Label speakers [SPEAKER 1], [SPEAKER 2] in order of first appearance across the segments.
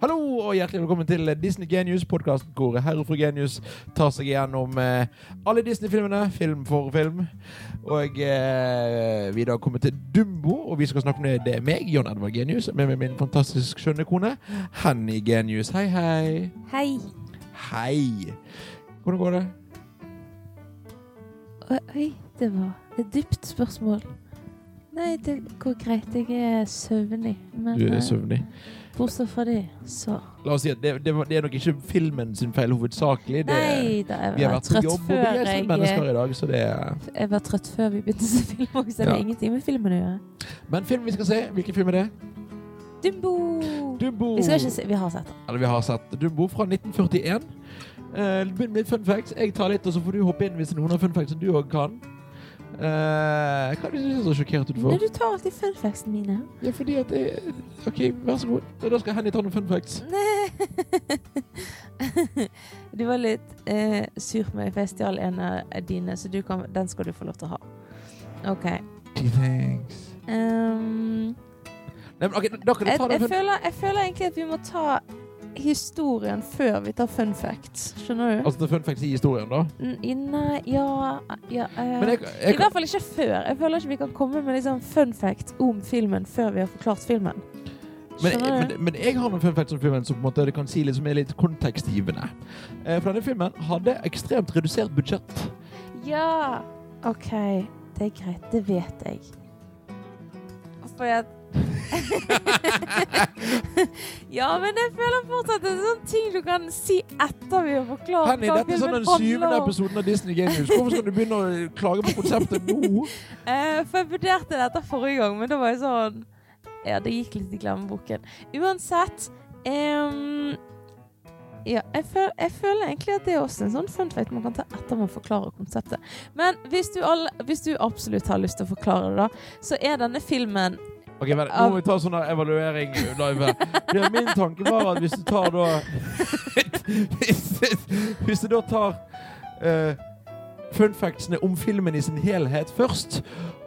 [SPEAKER 1] Hallo og hjertelig velkommen til Disney Genius, podkasten hvor herre fru Genius tar seg gjennom eh, alle Disney-filmene, film for film. Og eh, vi da kommer til Dumbo, og vi skal snakke med det er meg, John Edvard Genius, med, med min fantastisk skjønne kone, Henny Genius. Hei, hei.
[SPEAKER 2] Hei.
[SPEAKER 1] Hei. Hvordan går det?
[SPEAKER 2] Oi, Oi, det var et dypt spørsmål. Nei, det går greit. Jeg er søvnig. Men
[SPEAKER 1] Du er
[SPEAKER 2] eh,
[SPEAKER 1] søvnig.
[SPEAKER 2] bortsett fra det, så
[SPEAKER 1] La oss si at det, det, var- det er nok ikke filmen sin feil hovedsakelig. Det,
[SPEAKER 2] Nei da, jeg
[SPEAKER 1] Vi har
[SPEAKER 2] var
[SPEAKER 1] vært på
[SPEAKER 2] trøtt
[SPEAKER 1] jobb, og vi
[SPEAKER 2] før
[SPEAKER 1] er sånne
[SPEAKER 2] jeg
[SPEAKER 1] mennesker i dag, så det er
[SPEAKER 2] Jeg var trøtt før vi begynte å se film, og så det
[SPEAKER 1] Ja.
[SPEAKER 2] har ingenting med filmen å gjøre.
[SPEAKER 1] Men filmen vi skal se, hvilken film er det?
[SPEAKER 2] Dumbo!
[SPEAKER 1] Dumbo.
[SPEAKER 2] Vi skal ikke se Vi har sett den.
[SPEAKER 1] Eller vi har sett Dumbo fra 1941. Eh, Begynn med litt fun facts. Jeg tar litt, og så får du hoppe inn hvis det er noen har fun facts som du òg kan. Eh, hva er det du synes er så sjokkert ut
[SPEAKER 2] Nei,
[SPEAKER 1] for?
[SPEAKER 2] du tar alltid funfactsene mine.
[SPEAKER 1] Ja, fordi at jeg, OK, vær så god. Da skal Henny ta noen fun facts.
[SPEAKER 2] Nei. Du var litt eh, sur på meg, for jeg stjal en av dine, så du kan, den skal du få lov til å ha. OK.
[SPEAKER 1] Thanks.
[SPEAKER 2] Um,
[SPEAKER 1] Nei, men, ok, da kan du
[SPEAKER 2] jeg,
[SPEAKER 1] ta
[SPEAKER 2] jeg,
[SPEAKER 1] den fun
[SPEAKER 2] føler, jeg føler egentlig at vi må ta historien før vi tar fun facts. Skjønner du?
[SPEAKER 1] Altså det er fun facts i historien, da.
[SPEAKER 2] N- i- Nei, ja, ja eh,
[SPEAKER 1] Men jeg,
[SPEAKER 2] I
[SPEAKER 1] jeg kan,
[SPEAKER 2] hvert fall ikke før. Jeg føler ikke vi kan komme med liksom fun fact om filmen før vi har forklart filmen.
[SPEAKER 1] men,
[SPEAKER 2] Skjønner du?
[SPEAKER 1] men, men jeg har noen fun facts om filmen som på en måte det kan si litt, som er litt kontekstgivende. Eh, for denne filmen hadde ekstremt redusert budsjett.
[SPEAKER 2] Ja! OK, det er greit. Det vet jeg. Fordi at Ja, men jeg føler fortsatt at det er sånne ting du kan si etter vi har forklart
[SPEAKER 1] Henny, dette er sånn den syvende episoden av Disney Genius. Hvorfor skal du begynne å klage på konseptet nå?
[SPEAKER 2] Eh, for jeg vurderte dette forrige gang, men da var jeg sånn Ja, det gikk litt i glemmeboken. Uansett ehm, Ja, jeg, føl, jeg føler egentlig at det er også en sånn fun fact man kan ta etter man forklarer konseptet. Men hvis du, all, hvis du absolutt har lyst til å forklare det, da, så er denne filmen
[SPEAKER 1] Ok, vent, Nå må vi ta sånn her evaluering live. her. Det er min tanke var at hvis du tar da Hvis, hvis du da tar eh, fun factsene om filmen i sin helhet først,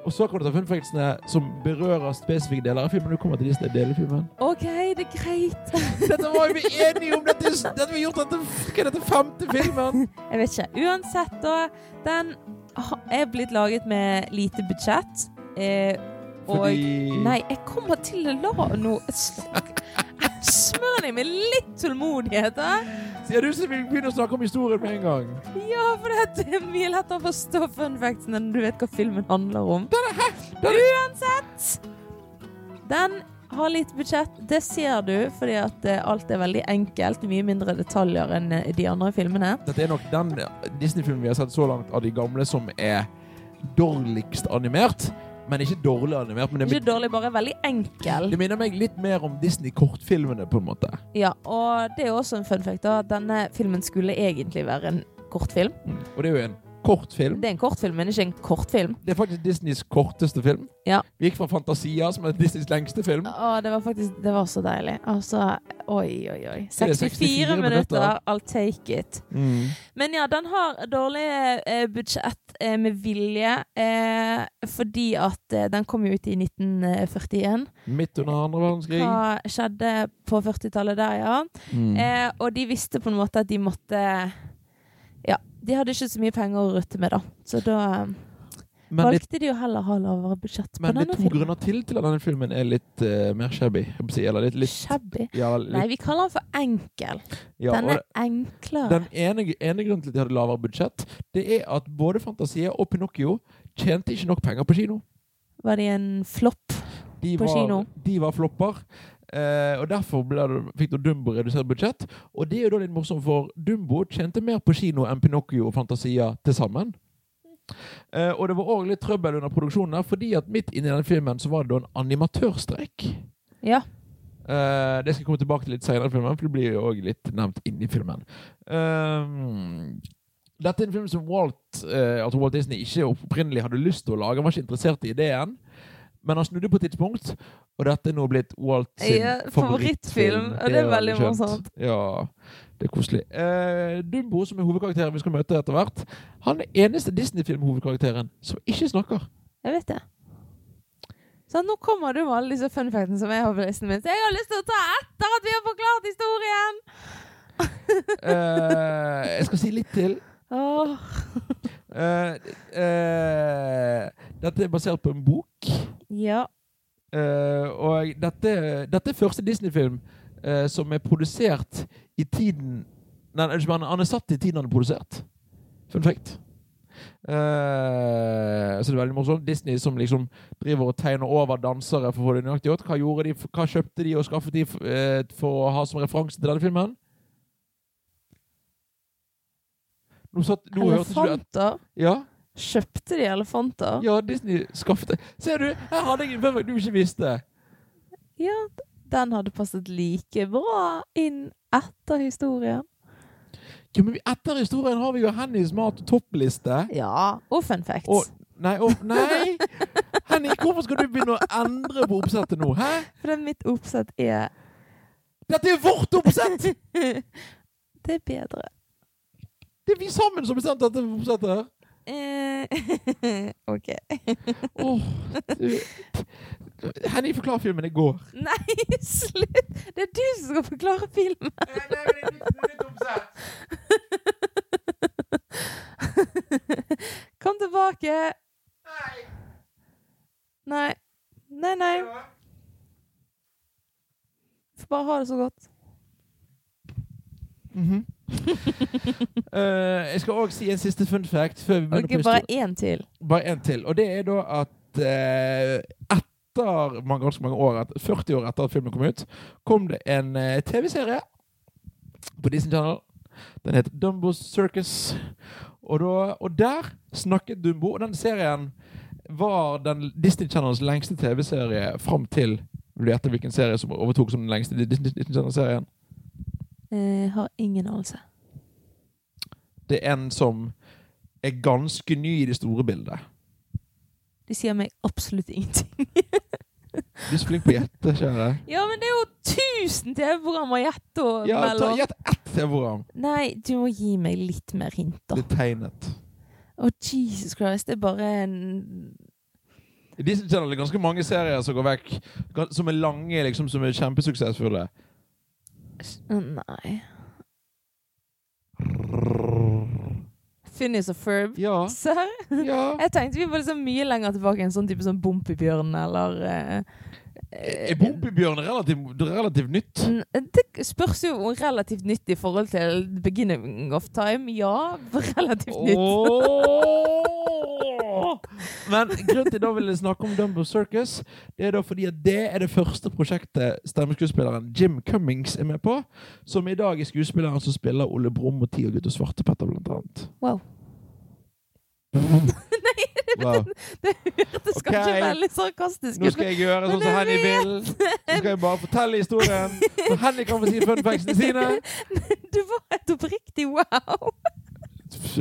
[SPEAKER 1] og så kan du ta fun factsene som berører spesifikke deler av filmen. Du kommer til disse deler av filmen.
[SPEAKER 2] OK, det er greit.
[SPEAKER 1] Dette var jo vi enige om! Dette, er s- dette vi har gjort dette, hva er dette femte filmen!
[SPEAKER 2] Jeg vet ikke. Uansett, da. Den ha- er blitt laget med lite budsjett. Eh, og Nei, jeg kommer til å la nå Smør deg med litt tålmodighet, da.
[SPEAKER 1] Sier du som vil begynne å snakke om historien med en gang?
[SPEAKER 2] Ja, for det er mye lettere å forstå fun factsen enn du vet hva filmen handler om. Uansett! Den har lite budsjett. Det ser du, fordi at eh, alt er veldig enkelt. Mye mindre detaljer enn eh, de andre filmene.
[SPEAKER 1] Dette er nok den Disney-filmen vi har sett så langt av de gamle som er dårligst animert. Men ikke dårlig animert. Men det,
[SPEAKER 2] Ikke dårlig, bare veldig enkel.
[SPEAKER 1] det minner meg litt mer om Disney-kortfilmene, på en måte.
[SPEAKER 2] Ja, og det er også en fun fact, da. at Denne filmen skulle egentlig være en kortfilm.
[SPEAKER 1] Og det er jo en kortfilm.
[SPEAKER 2] Det er en kortfilm, men ikke en kortfilm.
[SPEAKER 1] Det er faktisk Disneys korteste film.
[SPEAKER 2] Ja.
[SPEAKER 1] Vi gikk fra Fantasia, som er Disneys lengste film.
[SPEAKER 2] Å, det var faktisk Det var så deilig. Altså, oi, oi, oi.
[SPEAKER 1] er
[SPEAKER 2] 64,
[SPEAKER 1] 64
[SPEAKER 2] minutter.
[SPEAKER 1] minutter.
[SPEAKER 2] I'll take it.
[SPEAKER 1] Mm.
[SPEAKER 2] Men ja, den har dårlig eh, budsjett eh, med vilje, eh, fordi at eh, den kom jo ut i 1941.
[SPEAKER 1] Midt under andre verdenskrig.
[SPEAKER 2] Hva skjedde på 40-tallet der, ja.
[SPEAKER 1] Mm.
[SPEAKER 2] Eh, og de visste på en måte at de måtte Ja, de hadde ikke så mye penger å rutte med, da. Så da eh,
[SPEAKER 1] Men, det,
[SPEAKER 2] valgte de jo heller å ha lavere budsjett på
[SPEAKER 1] men det
[SPEAKER 2] denne
[SPEAKER 1] er to grunner til til at denne filmen er litt eh, mer shabby. jeg vil si, Eller litt, litt,
[SPEAKER 2] Shabby.
[SPEAKER 1] ja,
[SPEAKER 2] Nei,
[SPEAKER 1] litt
[SPEAKER 2] vi kaller den for enkel.
[SPEAKER 1] ja,
[SPEAKER 2] den
[SPEAKER 1] og-
[SPEAKER 2] er enklere.
[SPEAKER 1] Den ene, ene grunnen til at de hadde lavere budsjett, det er at både Fantasia og Pinocchio tjente ikke nok penger på kino.
[SPEAKER 2] Var det en flopp?
[SPEAKER 1] De
[SPEAKER 2] På
[SPEAKER 1] var,
[SPEAKER 2] kino.
[SPEAKER 1] De var flopper. eh, og Derfor ble det, fikk da Dumbo redusert budsjett. Og det er jo da litt morsomt, for Dumbo tjente mer på kino enn Pinocchio og Fantasia til sammen. Eh, og det var òg litt trøbbel under produksjonen, her, fordi at midt inni den filmen så var det da en animatørstreik.
[SPEAKER 2] Ja.
[SPEAKER 1] Eh, det skal jeg komme tilbake til litt senere, i filmen, for det blir jo også litt nevnt inni filmen. Ehm, dette er en film som Walt, eh, altså Walt Disney ikke opprinnelig hadde lyst til å lage. Han var ikke interessert i ideen, men han snudde på et tidspunkt, og dette er nå blitt Walt sin
[SPEAKER 2] Ja,
[SPEAKER 1] favorittfilm.
[SPEAKER 2] favorittfilm, og det er veldig
[SPEAKER 1] skjønt.
[SPEAKER 2] morsomt.
[SPEAKER 1] Ja, det er koselig. Eh, Dumbo, som er hovedkarakteren vi skal møte etter hvert, han er eneste Disney-film-hovedkarakteren som ikke snakker.
[SPEAKER 2] Jeg vet det. Så nå kommer du med alle disse fun factene som jeg har på listen min. Så jeg har lyst til å ta etter at vi har forklart
[SPEAKER 1] Eh, jeg skal si litt til.
[SPEAKER 2] Åh.
[SPEAKER 1] Eh, eh, dette er basert på en bok.
[SPEAKER 2] Ja.
[SPEAKER 1] Eh, og dette, dette er første Disney-film eh, som er produsert i tiden Nei, eller som han, han er satt i tiden han er produsert. Fun fact. Eh, så det er veldig morsomt. Disney som liksom driver og tegner over dansere for å få det nøyaktig gjort. Hva, gjorde de, hva kjøpte de og skaffet de eh, for å ha som referanse til denne filmen? Nå satt, nå hørtes du at
[SPEAKER 2] Elefanter.
[SPEAKER 1] Ja?
[SPEAKER 2] Kjøpte de elefanter?
[SPEAKER 1] Ja, Disney skaffet Ser du, her hadde jeg en fun fact du ikke visste.
[SPEAKER 2] Ja, d- den hadde passet like bra inn etter historien.
[SPEAKER 1] Jo, men vi- etter historien har vi jo Hennys mat- og toppliste.
[SPEAKER 2] Ja. Og fun facts.
[SPEAKER 1] Og Nei, å, nei! Henny, hvorfor skal du begynne å endre på oppsettet nå? Hæ?
[SPEAKER 2] For det er mitt oppsett er
[SPEAKER 1] Dette er vårt oppsett!
[SPEAKER 2] Det er bedre.
[SPEAKER 1] Det er vi sammen som bestemte dette oppsettet. her.
[SPEAKER 2] Eh, OK.
[SPEAKER 1] Åh, du- Henny, forklar filmen i går.
[SPEAKER 2] Nei, slutt! Det er du som skal forklare filmen. Kom tilbake. Nei. Nei, nei. Får bare ha det så godt.
[SPEAKER 1] Mhm. Eh, jeg skal òg si en siste fun fact før vi begynner
[SPEAKER 2] OK,
[SPEAKER 1] på historien.
[SPEAKER 2] bare én til.
[SPEAKER 1] Bare en til. Og det er da at eh, etter man- ganske mange år, et- 40 år etter at filmen kom ut, kom det en eh, TV-serie på Disney Channel. Den heter Dumbo Circus. Og, da, og der snakket Dumbo. Og den serien var den Disney Channels lengste TV-serie fram til Vil du gjette hvilken serie som overtok som den lengste Disney Disney Channel-serien?
[SPEAKER 2] Eh, har ingen anelse.
[SPEAKER 1] Det er en som er ganske ny i det store bildet.
[SPEAKER 2] De sier meg absolutt ingenting.
[SPEAKER 1] Du er så flink på å gjette, kjære.
[SPEAKER 2] Ja, men det er jo 1000 TV-programmer å gjette og
[SPEAKER 1] Ja, ta,
[SPEAKER 2] mellom.
[SPEAKER 1] gjett ett TV-program.
[SPEAKER 2] Nei, du må gi meg litt mer hint, da.
[SPEAKER 1] Det er tegnet.
[SPEAKER 2] Å, Jesus Christ, det er bare en
[SPEAKER 1] I Disney Channel er det ganske mange serier som går vekk, gan- som er lange, liksom, som er kjempesuksessfulle.
[SPEAKER 2] Nei. Phineas og Ferb.
[SPEAKER 1] Ja.
[SPEAKER 2] Serr?
[SPEAKER 1] ja.
[SPEAKER 2] Jeg tenkte vi var liksom mye lenger tilbake enn sånn type som Bompibjørn eller eh,
[SPEAKER 1] Er Bompibjørn relativt, relativt nytt?
[SPEAKER 2] N- Det spørs jo hvor relativt nytt i forhold til beginning of time. Ja, relativt nytt.
[SPEAKER 1] Åh! Men grunnen til da vil jeg snakke om Dumbo Circus, det er da fordi at det er det første prosjektet stemmeskuespilleren Jim Cummings er med på, som i dag er skuespilleren som spiller Ole Brumm og Tigergutt og Svartepetter, blant annet.
[SPEAKER 2] Wow.
[SPEAKER 1] Wow.
[SPEAKER 2] Det skal
[SPEAKER 1] Ok.
[SPEAKER 2] ikke veldig sarkastisk
[SPEAKER 1] Nå
[SPEAKER 2] ut.
[SPEAKER 1] skal jeg gjøre sånn som
[SPEAKER 2] Men
[SPEAKER 1] Henny
[SPEAKER 2] jeg
[SPEAKER 1] vil. Så skal jeg bare fortelle historien. Så Henny kan få si fun factsene sine.
[SPEAKER 2] men Du var et oppriktig wow.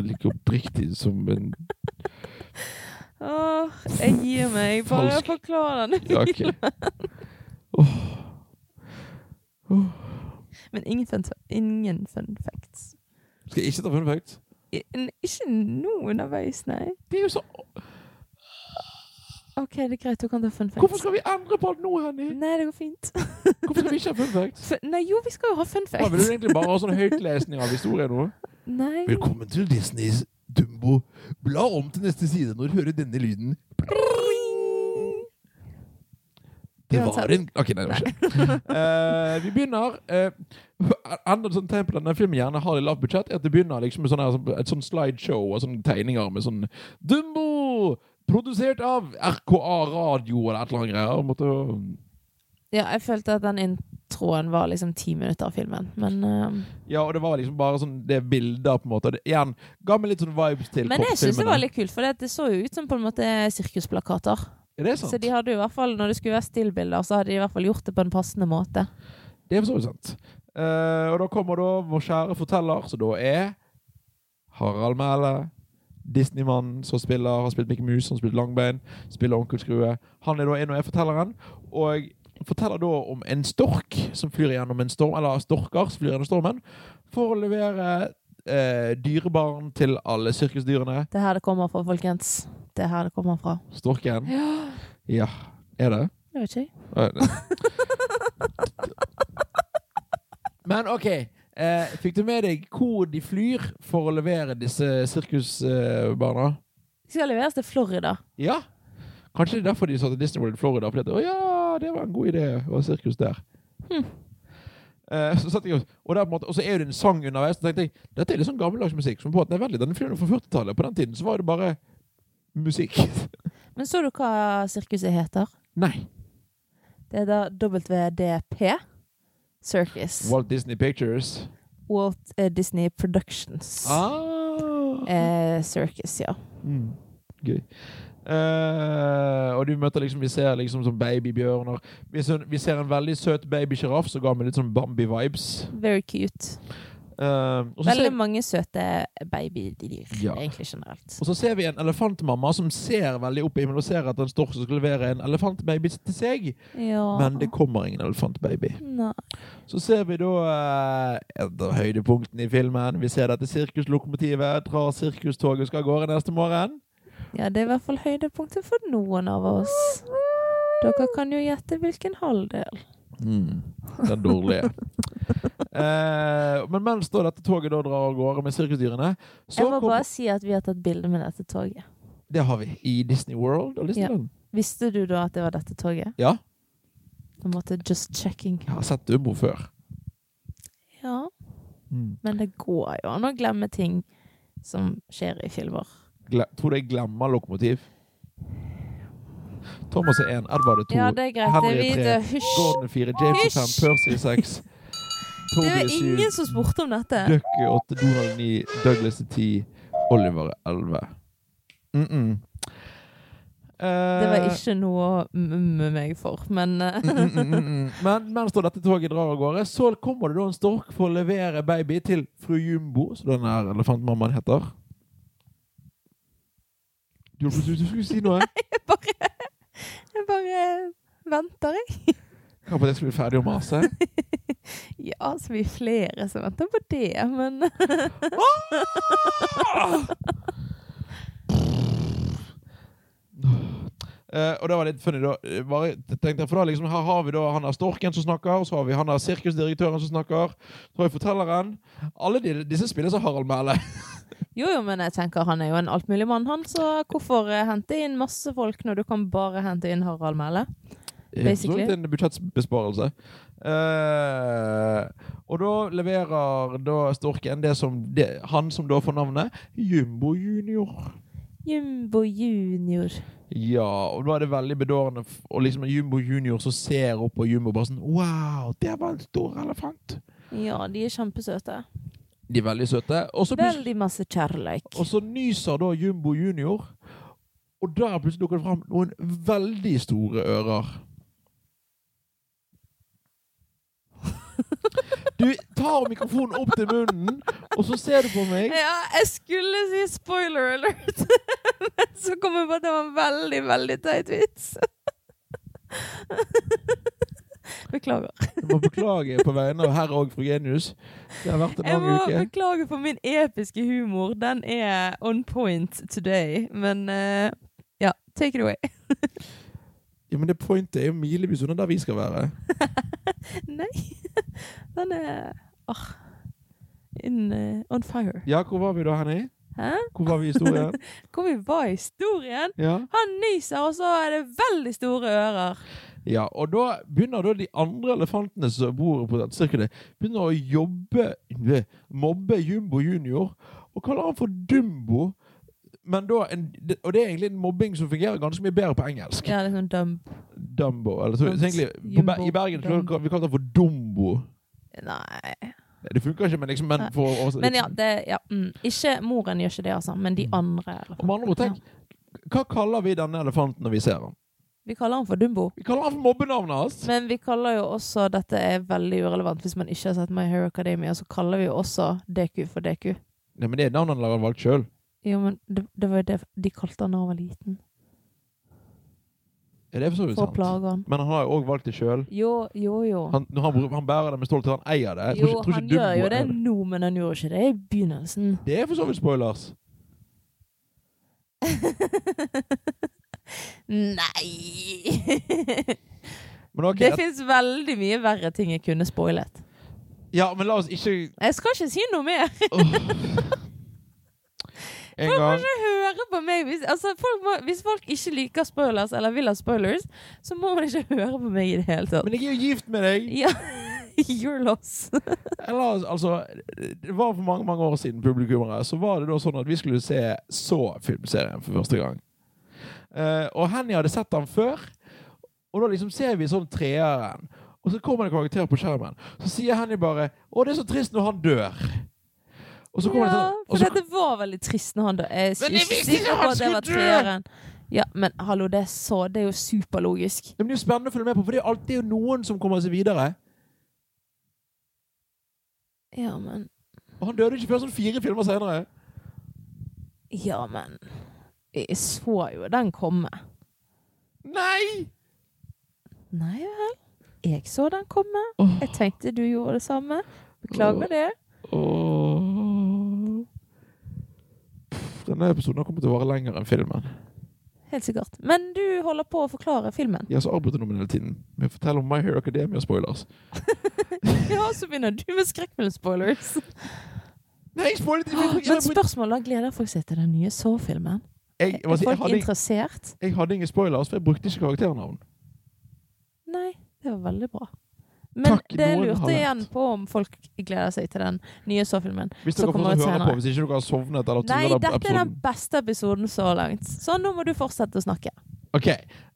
[SPEAKER 1] Like oppriktig som en
[SPEAKER 2] Åh, jeg gir meg. Bare
[SPEAKER 1] Falsk.
[SPEAKER 2] forklar den.
[SPEAKER 1] jake.
[SPEAKER 2] Men ingen fun, ingen fun facts.
[SPEAKER 1] Skal jeg ikke ta fun facts?
[SPEAKER 2] I- n- Ikke nå underveis, nei.
[SPEAKER 1] Det er jo så
[SPEAKER 2] OK, det er greit. Du kan ta fun
[SPEAKER 1] Hvorfor
[SPEAKER 2] facts.
[SPEAKER 1] skal vi endre på alt nå, Henny?
[SPEAKER 2] Nei, det går fint.
[SPEAKER 1] Hvorfor skal vi ikke ha fun facts?
[SPEAKER 2] Fun- Nei, jo, vi skal jo ha fun
[SPEAKER 1] Hva, vil du
[SPEAKER 2] facts.
[SPEAKER 1] egentlig bare ha sånn høytlesning av historien nå?
[SPEAKER 2] Nei.
[SPEAKER 1] Velkommen til Disneys Dumbo. Bla om til neste side når du hører denne lyden. Det
[SPEAKER 2] Ja,
[SPEAKER 1] var
[SPEAKER 2] sant.
[SPEAKER 1] en Ok, nei, det var ikke. Eh, vi begynner eh, Enda et sånt tegn på denne filmen gjerne har i lavt budsjett, er at det begynner liksom med sånn her- et sånn slideshow og sånne tegninger med sånn Dumbo! Produsert av RKA Radio eller et eller annet greier. Måtte,
[SPEAKER 2] Ja, jeg følte at den introen var liksom ti minutter av filmen, men eh,
[SPEAKER 1] ja, og det var liksom bare sånn Det er bilder, på en måte. Og Det, igjen, ga meg litt sånn vibes til
[SPEAKER 2] Men jeg syns det
[SPEAKER 1] kortfilmene.
[SPEAKER 2] var litt kult, for det, det så jo ut som på en måte sirkusplakater.
[SPEAKER 1] Er det
[SPEAKER 2] Så
[SPEAKER 1] sant?
[SPEAKER 2] de hadde jo i hvert fall, når det skulle være stillbilder, så hadde de i hvert fall gjort det på en passende måte.
[SPEAKER 1] Det er for så vidt sant. Eh, og da kommer da vår kjære forteller, som da er Harald Mæle. Disneymannen som spiller, har spilt Mickey Mouse, han har spilt Langbein, spiller Onkel Skrue. Han er da en og er fortelleren, og forteller da om en stork som flyr gjennom en storm, eller storker som flyr gjennom stormen, for å levere eh, dyrebarn til alle sirkusdyrene.
[SPEAKER 2] Det er her det kommer fra, folkens. Det er her det kommer fra.
[SPEAKER 1] Storken. Ja. Er det?
[SPEAKER 2] Jeg vet ikke.
[SPEAKER 1] Nei, nei. Men OK. Eh, fikk du med deg hvor de flyr for å levere disse sirkusbarna?
[SPEAKER 2] Skal leveres til Florida.
[SPEAKER 1] ja. Kanskje det er derfor de sa til Disney World i Florida. Fordi at, å ja, det var en god idé å ha sirkus der.
[SPEAKER 2] Hm.
[SPEAKER 1] Eh, så satt jeg og, og, der på en måte, og så er det en sang underveis. Så tenkte jeg dette er litt sånn gammeldags musikk. Som på at, nei, veldig, den flyr nå fra 40-tallet. På den tiden så var det bare musikk.
[SPEAKER 2] Men så du hva sirkuset heter?
[SPEAKER 1] nei.
[SPEAKER 2] Det er da WDP Circus.
[SPEAKER 1] Walt Disney Pictures.
[SPEAKER 2] Walt eh, Disney Productions
[SPEAKER 1] Ah.
[SPEAKER 2] eh, Circus, ja.
[SPEAKER 1] Mm. Gøy. Eh, og du møter liksom Vi ser liksom sånn babybjørner. Vi ser, vi ser en veldig søt babysjiraff som ga meg litt sånn Bambi-vibes.
[SPEAKER 2] Very cute.
[SPEAKER 1] Eh, og, så ser,
[SPEAKER 2] Veldig mange søte babydyr,
[SPEAKER 1] Ja.
[SPEAKER 2] egentlig generelt.
[SPEAKER 1] og så ser vi en elefantmamma som ser veldig opp i himmelen og ser at en stork som skal levere en elefantbaby til seg,
[SPEAKER 2] Ja.
[SPEAKER 1] men det kommer ingen elefantbaby.
[SPEAKER 2] Nei.
[SPEAKER 1] Så ser vi da eh, et av høydepunktene i filmen. Vi ser dette sirkuslokomotivet drar sirkustoget og skal av gårde neste morgen.
[SPEAKER 2] Ja, det er i hvert fall høydepunktet for noen av oss. Dere kan jo gjette hvilken halvdel.
[SPEAKER 1] Mm. Den dårlige. eh, men mens da dette toget da drar av gårde med sirkusdyrene så
[SPEAKER 2] Jeg må
[SPEAKER 1] kommer-
[SPEAKER 2] bare si at vi har tatt bilde med dette toget.
[SPEAKER 1] Det har vi i Disney World og Disneyland.
[SPEAKER 2] Visste du da at det var dette toget?
[SPEAKER 1] Ja.
[SPEAKER 2] På en måte just checking.
[SPEAKER 1] Jeg har sett Dumbo før.
[SPEAKER 2] Ja, men det går jo an å glemme ting som skjer i filmer.
[SPEAKER 1] Gle tror du jeg glemmer lokomotiv? Thomas er én, Edvard er to,
[SPEAKER 2] Ja, det er greit. Det er
[SPEAKER 1] Henry
[SPEAKER 2] vi
[SPEAKER 1] tre.
[SPEAKER 2] det. Hysj!
[SPEAKER 1] Gordon er fire, James er
[SPEAKER 2] Hysj!
[SPEAKER 1] fem, Percy er seks,
[SPEAKER 2] Det
[SPEAKER 1] Toby
[SPEAKER 2] var
[SPEAKER 1] er syv,
[SPEAKER 2] ingen som spurte om dette.
[SPEAKER 1] Duck er åtte, Donald er ni, Douglas er ti, Oliver er elleve. Mm -mm.
[SPEAKER 2] Det
[SPEAKER 1] Eh,
[SPEAKER 2] var ikke noe å mumme meg for, men eh,
[SPEAKER 1] Mm, mm, mm, mm. Men mens da dette toget drar av gårde, så kommer det da en stork for å levere baby til fru Jumbo, som den her elefantmammaen heter. Du, du, du skulle si noe?
[SPEAKER 2] jeg bare Jeg bare venter, jeg.
[SPEAKER 1] Jeg håper jeg skulle bli ferdig å mase.
[SPEAKER 2] Ja, så vi er flere som venter på det, men
[SPEAKER 1] Eh, og det var litt funny, da. Eh, Bare tenkte jeg, for da liksom, Her har vi da han der storken som snakker, og så har vi han der sirkusdirektøren som snakker, så har vi fortelleren. Alle de, disse spilles av Harald Mæhle.
[SPEAKER 2] Jo, jo, men jeg tenker han er jo en altmulig mann, han, så hvorfor eh, hente inn masse folk når du kan bare hente inn Harald Mæhle? Basically.
[SPEAKER 1] Basically. En budsjettbesparelse. Eh, og da leverer da storken det som det, han som da får navnet Jumbo Junior.
[SPEAKER 2] Jumbo junior.
[SPEAKER 1] Ja, og da er det veldig bedårende f- og liksom en Jumbo Junior som ser opp på Jumbo bare sånn Wow, der var en stor elefant!
[SPEAKER 2] Ja, de er kjempesøte.
[SPEAKER 1] De er veldig søte. Og så plutselig-
[SPEAKER 2] Veldig masse kjærleik.
[SPEAKER 1] og så nyser da Jumbo Junior, og der plutselig dukker det fram noen veldig store ører. Du tar mikrofonen opp til munnen, og så ser du på meg.
[SPEAKER 2] Ja, jeg skulle si spoiler alert, men så kom jeg på at det var en veldig, veldig teit vits. Beklager.
[SPEAKER 1] Jeg må beklage på vegne av herr og fru Genius. Det har vært en
[SPEAKER 2] Jeg
[SPEAKER 1] lang
[SPEAKER 2] må
[SPEAKER 1] uke.
[SPEAKER 2] beklage for min episke humor. Den er on point today, men eh, ja, take it away.
[SPEAKER 1] Ja, men det pointet er jo milevis unna der vi skal være.
[SPEAKER 2] Nei. Den er ah, in, eh, on fire.
[SPEAKER 1] Ja, hvor var vi da, Henny?
[SPEAKER 2] Hæ?
[SPEAKER 1] Hvor var vi i historien?
[SPEAKER 2] Hvor vi var i historien?
[SPEAKER 1] Ja.
[SPEAKER 2] Han nyser, og så er det veldig store ører.
[SPEAKER 1] ja, og da begynner da de andre elefantene som bor på dette sirkuset, begynner å jobbe, eh, mobbe Jumbo Junior, og kaller han for Dumbo. Men da en, og det er egentlig en mobbing som fungerer ganske mye bedre på engelsk.
[SPEAKER 2] Ja, det er sånn dum.
[SPEAKER 1] Dumbo. Eller, så, så egentlig, på,
[SPEAKER 2] Jumbo,
[SPEAKER 1] Ber- I Bergen så
[SPEAKER 2] Dumbo.
[SPEAKER 1] kaller vi kaller det for Dumbo.
[SPEAKER 2] Nei.
[SPEAKER 1] Det funker ikke, men liksom men
[SPEAKER 2] Nei.
[SPEAKER 1] for å oversette
[SPEAKER 2] Men ja,
[SPEAKER 1] litt.
[SPEAKER 2] det, ja mm. Ikke moren gjør ikke det, altså, men de andre. i hvert fall.
[SPEAKER 1] Mm. Og med andre ord, tenk, hva kaller vi denne elefanten når vi ser han?
[SPEAKER 2] Vi kaller han for Dumbo.
[SPEAKER 1] Vi kaller han for mobbenavnet hans.
[SPEAKER 2] Men vi kaller jo også Dette er veldig urelevant hvis man ikke har sett My Hero Academia, så kaller vi jo også DQ for DQ.
[SPEAKER 1] Nei, men det er navnet han har valgt sjøl.
[SPEAKER 2] Jo, men det, det var jo det de kalte han da han var liten.
[SPEAKER 1] Er det for så vidt
[SPEAKER 2] For å
[SPEAKER 1] sant?
[SPEAKER 2] plage han.
[SPEAKER 1] Men han har jo òg valgt det sjøl.
[SPEAKER 2] Jo, jo, jo.
[SPEAKER 1] Han, når han, br- han bærer det med stolthet. Han eier det. Jeg tror
[SPEAKER 2] Jo,
[SPEAKER 1] ikke- tror
[SPEAKER 2] han
[SPEAKER 1] ikke
[SPEAKER 2] gjør
[SPEAKER 1] Dumbo
[SPEAKER 2] jo det
[SPEAKER 1] eier
[SPEAKER 2] nå, men han gjorde ikke det i begynnelsen.
[SPEAKER 1] Det er for så vidt spoilers.
[SPEAKER 2] Nei!
[SPEAKER 1] Men ok,
[SPEAKER 2] det
[SPEAKER 1] et-
[SPEAKER 2] fins veldig mye verre ting jeg kunne spoilet.
[SPEAKER 1] Ja, men la oss ikke
[SPEAKER 2] Jeg skal ikke si noe mer.
[SPEAKER 1] Åh. En
[SPEAKER 2] Folk må
[SPEAKER 1] gang
[SPEAKER 2] ikke høre på meg. Hvis, altså, folk må, hvis folk ikke liker spoilers, eller vil ha spoilers, så må man ikke høre på meg i det hele tatt.
[SPEAKER 1] Men jeg er jo gift med deg!
[SPEAKER 2] Ja, your loss.
[SPEAKER 1] Eller, altså, det var for mange mange år siden publikummere, så var det da sånn at vi skulle se så filmserien for første gang. Eh, og Henny hadde sett den før, og da liksom ser vi sånn treeren. Og så kommer det en karakter på skjermen. Så sier Henny bare 'Å, det er så trist når han dør'. Og så kommer det
[SPEAKER 2] Ja,
[SPEAKER 1] sånn og
[SPEAKER 2] for
[SPEAKER 1] så,
[SPEAKER 2] dette var veldig trist når han da Jeg
[SPEAKER 1] Men
[SPEAKER 2] er
[SPEAKER 1] jeg
[SPEAKER 2] ikke
[SPEAKER 1] visste ikke
[SPEAKER 2] sikker på
[SPEAKER 1] han
[SPEAKER 2] at det
[SPEAKER 1] skulle
[SPEAKER 2] var
[SPEAKER 1] dø!
[SPEAKER 2] treeren. Ja, men hallo, det er så Det er jo superlogisk.
[SPEAKER 1] Men Det er jo spennende å følge med på, for det er jo alltid noen som kommer seg videre.
[SPEAKER 2] Ja, men
[SPEAKER 1] Og han døde ikke før sånn fire filmer senere.
[SPEAKER 2] Ja, men Jeg så jo den komme.
[SPEAKER 1] Nei!
[SPEAKER 2] Nei vel. Jeg så den komme.
[SPEAKER 1] Åh.
[SPEAKER 2] Jeg tenkte du gjorde det samme. Beklager det.
[SPEAKER 1] Åh. Pff, Denne episoden har kommet til å vare lenger enn filmen.
[SPEAKER 2] Helt sikkert. Men du holder på å forklare filmen.
[SPEAKER 1] Jeg har så avbrutt noen hele tiden med å fortelle om My Hero Academia-spoilers.
[SPEAKER 2] Ja, så begynner du med skrekkfilm-spoilers.
[SPEAKER 1] Nei, jeg spoilet ikke! Jeg,
[SPEAKER 2] Men spørsmålet er, gleder folk seg til den nye Saw-filmen?
[SPEAKER 1] jeg,
[SPEAKER 2] Er
[SPEAKER 1] jeg, jeg,
[SPEAKER 2] folk
[SPEAKER 1] hadde,
[SPEAKER 2] interessert?
[SPEAKER 1] jeg hadde ingen spoilers, for jeg brukte ikke karakternavn.
[SPEAKER 2] Nei, det var veldig bra. Men
[SPEAKER 1] Takk,
[SPEAKER 2] det
[SPEAKER 1] noen har
[SPEAKER 2] lurte
[SPEAKER 1] rett.
[SPEAKER 2] igjen på om folk gleder seg til den nye Saw-filmen.
[SPEAKER 1] Hvis
[SPEAKER 2] Så
[SPEAKER 1] dere
[SPEAKER 2] kommer
[SPEAKER 1] fortsatt
[SPEAKER 2] det
[SPEAKER 1] hører
[SPEAKER 2] senere.
[SPEAKER 1] på, hvis ikke dere har sovnet eller
[SPEAKER 2] Nei,
[SPEAKER 1] turet
[SPEAKER 2] dette er den
[SPEAKER 1] episoden.
[SPEAKER 2] beste episoden så langt. Så nå må du fortsette å snakke.
[SPEAKER 1] Ok.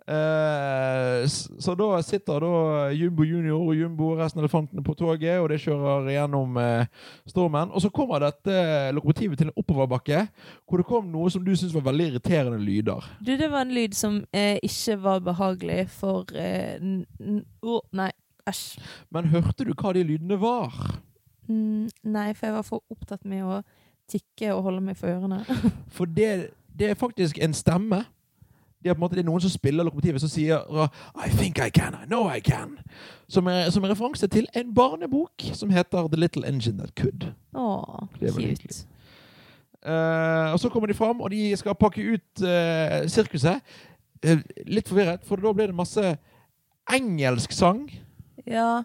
[SPEAKER 1] Eh, s- så da sitter da Jumbo Junior og Jumbo og resten av elefantene på toget, og det kjører gjennom eh, stormen. Og så kommer dette lokomotivet til en oppoverbakke, hvor det kom noe som du syntes var veldig irriterende lyder.
[SPEAKER 2] Du, det var en lyd som eh, ikke var behagelig for eh, n- n- Å, Nei, æsj.
[SPEAKER 1] Men hørte du hva de lydene var?
[SPEAKER 2] Mm, nei, for jeg var for opptatt med å tikke og holde meg for ørene.
[SPEAKER 1] For det, det er faktisk en stemme. Det er, på en måte, det er noen som spiller lokomotivet som sier I think I can, I know I can. Som er, som er referanse til en barnebok som heter The Little Engine That Could.
[SPEAKER 2] Å,
[SPEAKER 1] Det var
[SPEAKER 2] cute.
[SPEAKER 1] hyggelig. Eh, og så kommer de fram, og de skal pakke ut eh, sirkuset. Eh, litt forvirret, for da blir det masse engelsk sang.
[SPEAKER 2] Ja.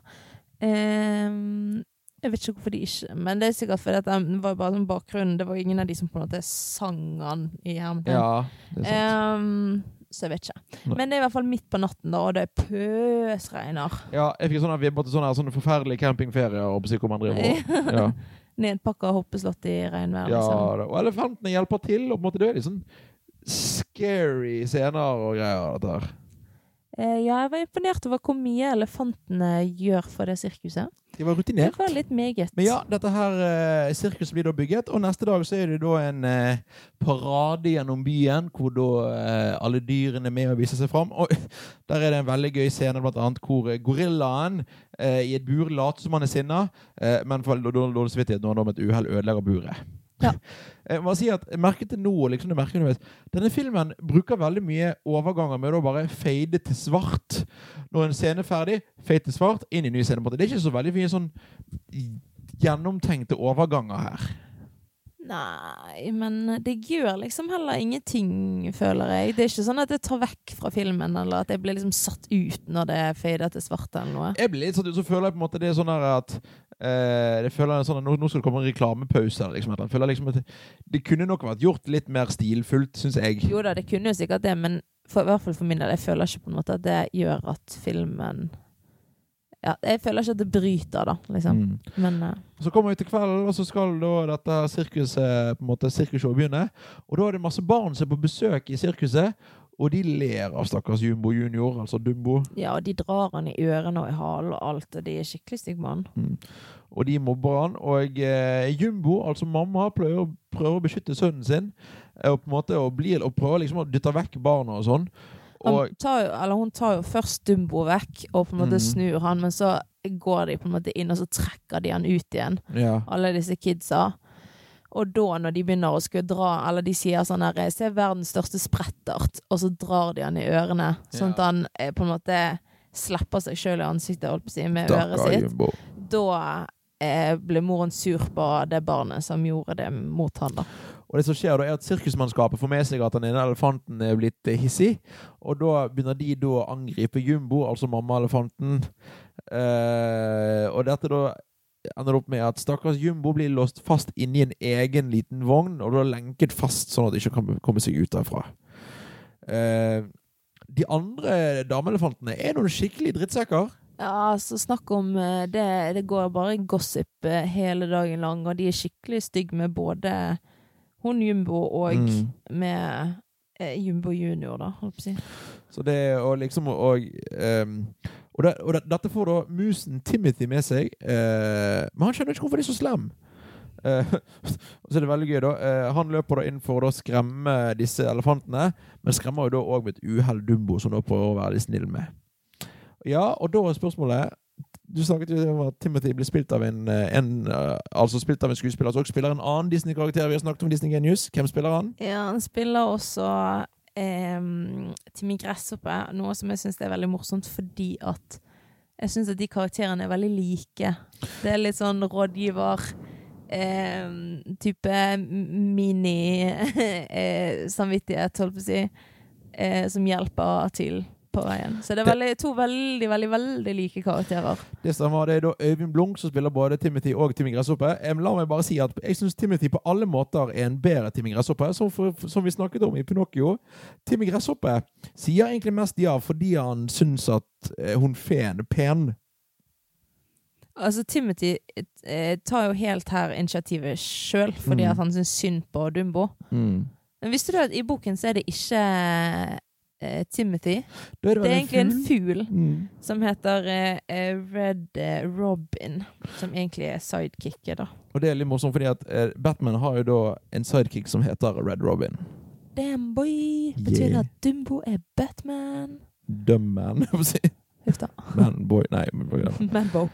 [SPEAKER 2] ehm, jeg vet ikke hvorfor de ikke Men det er sikkert fordi at den var bare sånn bakgrunnen. Det var ingen av de som på en måte sang den i hermetegn.
[SPEAKER 1] det er sant.
[SPEAKER 2] Ehm, så jeg vet ikke.
[SPEAKER 1] Nei.
[SPEAKER 2] Men det er i hvert fall midt på natten, da, og det pøsregner.
[SPEAKER 1] ja, jeg fikk sånne vibber til sånne, sånn her, sånne forferdelige campingferier. Og på hvor man driver og- ja.
[SPEAKER 2] Nedpakka hoppeslott i regnvær.
[SPEAKER 1] Ja,
[SPEAKER 2] Liksom.
[SPEAKER 1] da. og elefantene hjelper til. Og på en måte det er litt sånn scary scener og greier. dette her.
[SPEAKER 2] Eh, ja, jeg var imponert over hvor mye elefantene gjør for det sirkuset.
[SPEAKER 1] De var
[SPEAKER 2] Det
[SPEAKER 1] rutinert.
[SPEAKER 2] var litt meget.
[SPEAKER 1] Men ja, dette her eh, sirkuset blir da bygget, og neste dag så er det da en eh, parade gjennom byen, hvor da eh, alle dyrene er med og viser seg fram. Og der er det en veldig gøy scene, blant annet hvor eh, gorillaen eh, i et bur later som han er sinna, eh, men for dårlig dårlig samvittighet når han da med et uhell ødelegger buret.
[SPEAKER 2] Ja.
[SPEAKER 1] Eh, man sier at, jeg merket det nå, og liksom det merker jeg underveis. Denne filmen bruker veldig mye overganger med å da bare fade til svart. Når en scene er ferdig, fade til svart, inn i ny scene. på en måte. Det er ikke så veldig mye sånn gjennomtenkte overganger her.
[SPEAKER 2] Nei, men det gjør liksom heller ingenting, føler jeg. Det er ikke sånn at det tar vekk fra filmen, eller at jeg blir liksom satt ut når det fader til svart eller noe.
[SPEAKER 1] Jeg blir litt sånn, så føler jeg på en måte det er sånn her at eh, jeg føler sånn at nå, nå skal det komme en reklamepause. eller Liksom, et eller annet. jeg føler liksom at det kunne nok vært gjort litt mer stilfullt, syns jeg.
[SPEAKER 2] Jo da, det kunne jo sikkert det, men for, i hvert fall for min del, jeg føler ikke på en måte at det gjør at filmen Ja, jeg føler ikke at det bryter, da, liksom.
[SPEAKER 1] Mm.
[SPEAKER 2] Men eh,
[SPEAKER 1] Så kommer vi til kvelden, og så skal da dette her sirkuset på en måte sirkusshowet begynne. Og da er det masse barn som er på besøk i sirkuset, og de ler av stakkars Jumbo Junior, altså Dumbo.
[SPEAKER 2] ja, og de drar han i ørene og i halen og alt, og de er skikkelig stygge med han.
[SPEAKER 1] Og de mobber han. Og eh, Jumbo, altså mamma, prøver, prøver å beskytte sønnen sin. eh, Og på en måte og blir, og prøver liksom å dytte vekk barna og sånn. Og
[SPEAKER 2] Han tar jo, eller hun tar jo først Dumbo vekk, og på en
[SPEAKER 1] Mhm.
[SPEAKER 2] måte snur han, men så går de på en måte inn, og så trekker de han ut igjen.
[SPEAKER 1] ja.
[SPEAKER 2] alle disse kidsa. Og da, når de begynner å skulle dra, eller de sier sånn her 'Se verdens største sprettert', og så drar de han i ørene, sånn at
[SPEAKER 1] Ja.
[SPEAKER 2] han eh, på en måte slipper seg sjøl i ansiktet, holdt på å si, med øret
[SPEAKER 1] Stakkar
[SPEAKER 2] sitt.
[SPEAKER 1] Jumbo.
[SPEAKER 2] Da eh, ble moren sur på det barnet som gjorde det mot han, da.
[SPEAKER 1] Og det som skjer da er at Sirkusmannskapet får med seg at den ene elefanten er blitt eh, hissig. Og da begynner de da å angripe Jumbo, altså mammaelefanten. Eh, og dette da ender opp med at stakkars Jumbo blir låst fast inni en egen liten vogn, og da lenket fast sånn at de ikke kan komme seg ut derfra. Eh, de andre dameelefantene er noen skikkelig drittsekker.
[SPEAKER 2] Ja, altså, snakk om eh, det, det går bare gossip eh, hele dagen lang, og de er skikkelig stygge med både hun Jumbo og
[SPEAKER 1] Mm.
[SPEAKER 2] med eh, Jumbo junior, da, holdt på å si.
[SPEAKER 1] Så det og liksom Og, ehm, og, det, og det, dette får da musen Timothy med seg. eh, men han skjønner ikke hvorfor de er så slem. Eh, så er det veldig gøy, da. Eh, han løper da inn for å da skremme disse elefantene. Men skremmer jo da òg med et uhell Dumbo, som da prøver å være litt snill med. Ja, og da er spørsmålet Du snakket jo om at Timothy blir spilt av en, eh, en eh, Altså spilt av en skuespiller som også spiller en annen Disney-karakter. Vi har snakket om Disney Genius. Hvem spiller han?
[SPEAKER 2] Ja, han spiller også ehm, Timmy Gresshoppe, noe som jeg syns er veldig morsomt, fordi at jeg syns at de karakterene er veldig like. Det er litt sånn rådgiver ehm, Type mini-samvittighet, holdt på å si, eh, som hjelper til på veien. Så det er veldig, to veldig, veldig, veldig like karakterer.
[SPEAKER 1] Det stemmer. Det er da Øyvind Blunk som spiller både Timothy og Timmy Gresshoppe. Em, La meg bare si at jeg syns Timothy på alle måter er en bedre Timmy Gresshoppe, som, for, som vi snakket om i Pinocchio. Timmy Gresshoppe sier egentlig mest ja fordi han syns at eh, hun feen er pen.
[SPEAKER 2] Altså, Timothy eh, tar jo helt her initiativet sjøl, fordi
[SPEAKER 1] Mm.
[SPEAKER 2] at han syns synd på Dumbo. Men visste du at i boken så er det ikke eh, Timothy?
[SPEAKER 1] Da er det,
[SPEAKER 2] Det
[SPEAKER 1] vel
[SPEAKER 2] er egentlig en fugl
[SPEAKER 1] Mm.
[SPEAKER 2] som heter eh, eh, Red eh, Robin, som egentlig er sidekicket, da.
[SPEAKER 1] Og det er litt morsomt, fordi at eh, Batman har jo da en sidekick som heter Red Robin.
[SPEAKER 2] Damn boy! Betyr det
[SPEAKER 1] Yeah.
[SPEAKER 2] at Dumbo er Batman?
[SPEAKER 1] Dumb man, jeg får si.
[SPEAKER 2] Huff da.
[SPEAKER 1] Man boy. Nei. Men,
[SPEAKER 2] Manbo.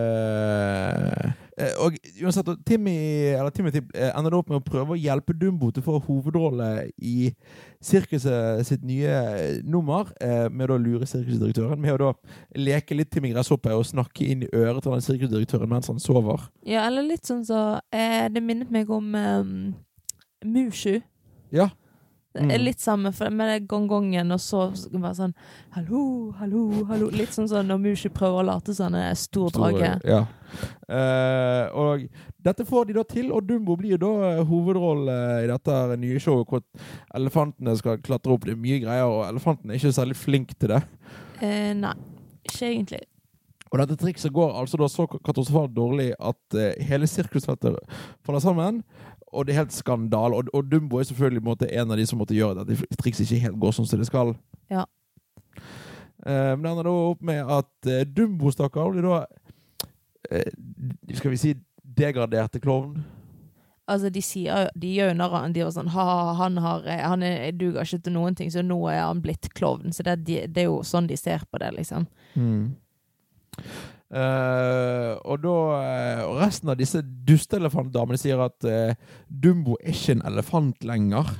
[SPEAKER 1] Eh, eh, og uansett, og Timmy, eller Timothy eh, ender opp med å prøve å hjelpe Dumbo til å få hovedrolle i sirkuset sitt nye eh, nummer, eh, med å da lure sirkusdirektøren. Med å da leke litt Timmy Gresshoppe og snakke inn i øret til den sirkusdirektøren mens han sover.
[SPEAKER 2] Ja, eller litt sånn så eh, Det minnet meg om eh, Mushu.
[SPEAKER 1] Ja.
[SPEAKER 2] Det er
[SPEAKER 1] Mm.
[SPEAKER 2] Litt samme for- med det gongongen, og så skal det være sånn Hallo, hallo, hallo. Litt sånn som når Mushu prøver å late som han er stor drage.
[SPEAKER 1] Ja. Eh, og dette får de da til, og Dumbo blir da eh, hovedrolle i dette her nye showet hvor elefantene skal klatre opp. Det er mye greier, og elefantene er ikke særlig flinke til det.
[SPEAKER 2] Eh, nei, ikke egentlig.
[SPEAKER 1] Og dette trikset går altså da så katastrofalt dårlig at eh, hele sirkusfeltet faller sammen. Og det er helt skandal. Og, og Dumbo er selvfølgelig på en måte, en av de som måtte gjøre det. At trikset ikke helt går sånn som det skal.
[SPEAKER 2] Ja.
[SPEAKER 1] Eh, men det ender da opp med at eh, Dumbo, stakkar, blir da eh, Skal vi si degraderte klovn?
[SPEAKER 2] Altså, de, sier, jo- de gjør jo narr av han. De var sånn ha, han, har, eh, han er, duger ikke til noen ting, så nå er han blitt klovn. Så det, er de, det er jo sånn de ser på det, liksom.
[SPEAKER 1] Eh, og da eh, og resten av disse dusteelefantdamene sier at eh, Dumbo er ikke en elefant lenger.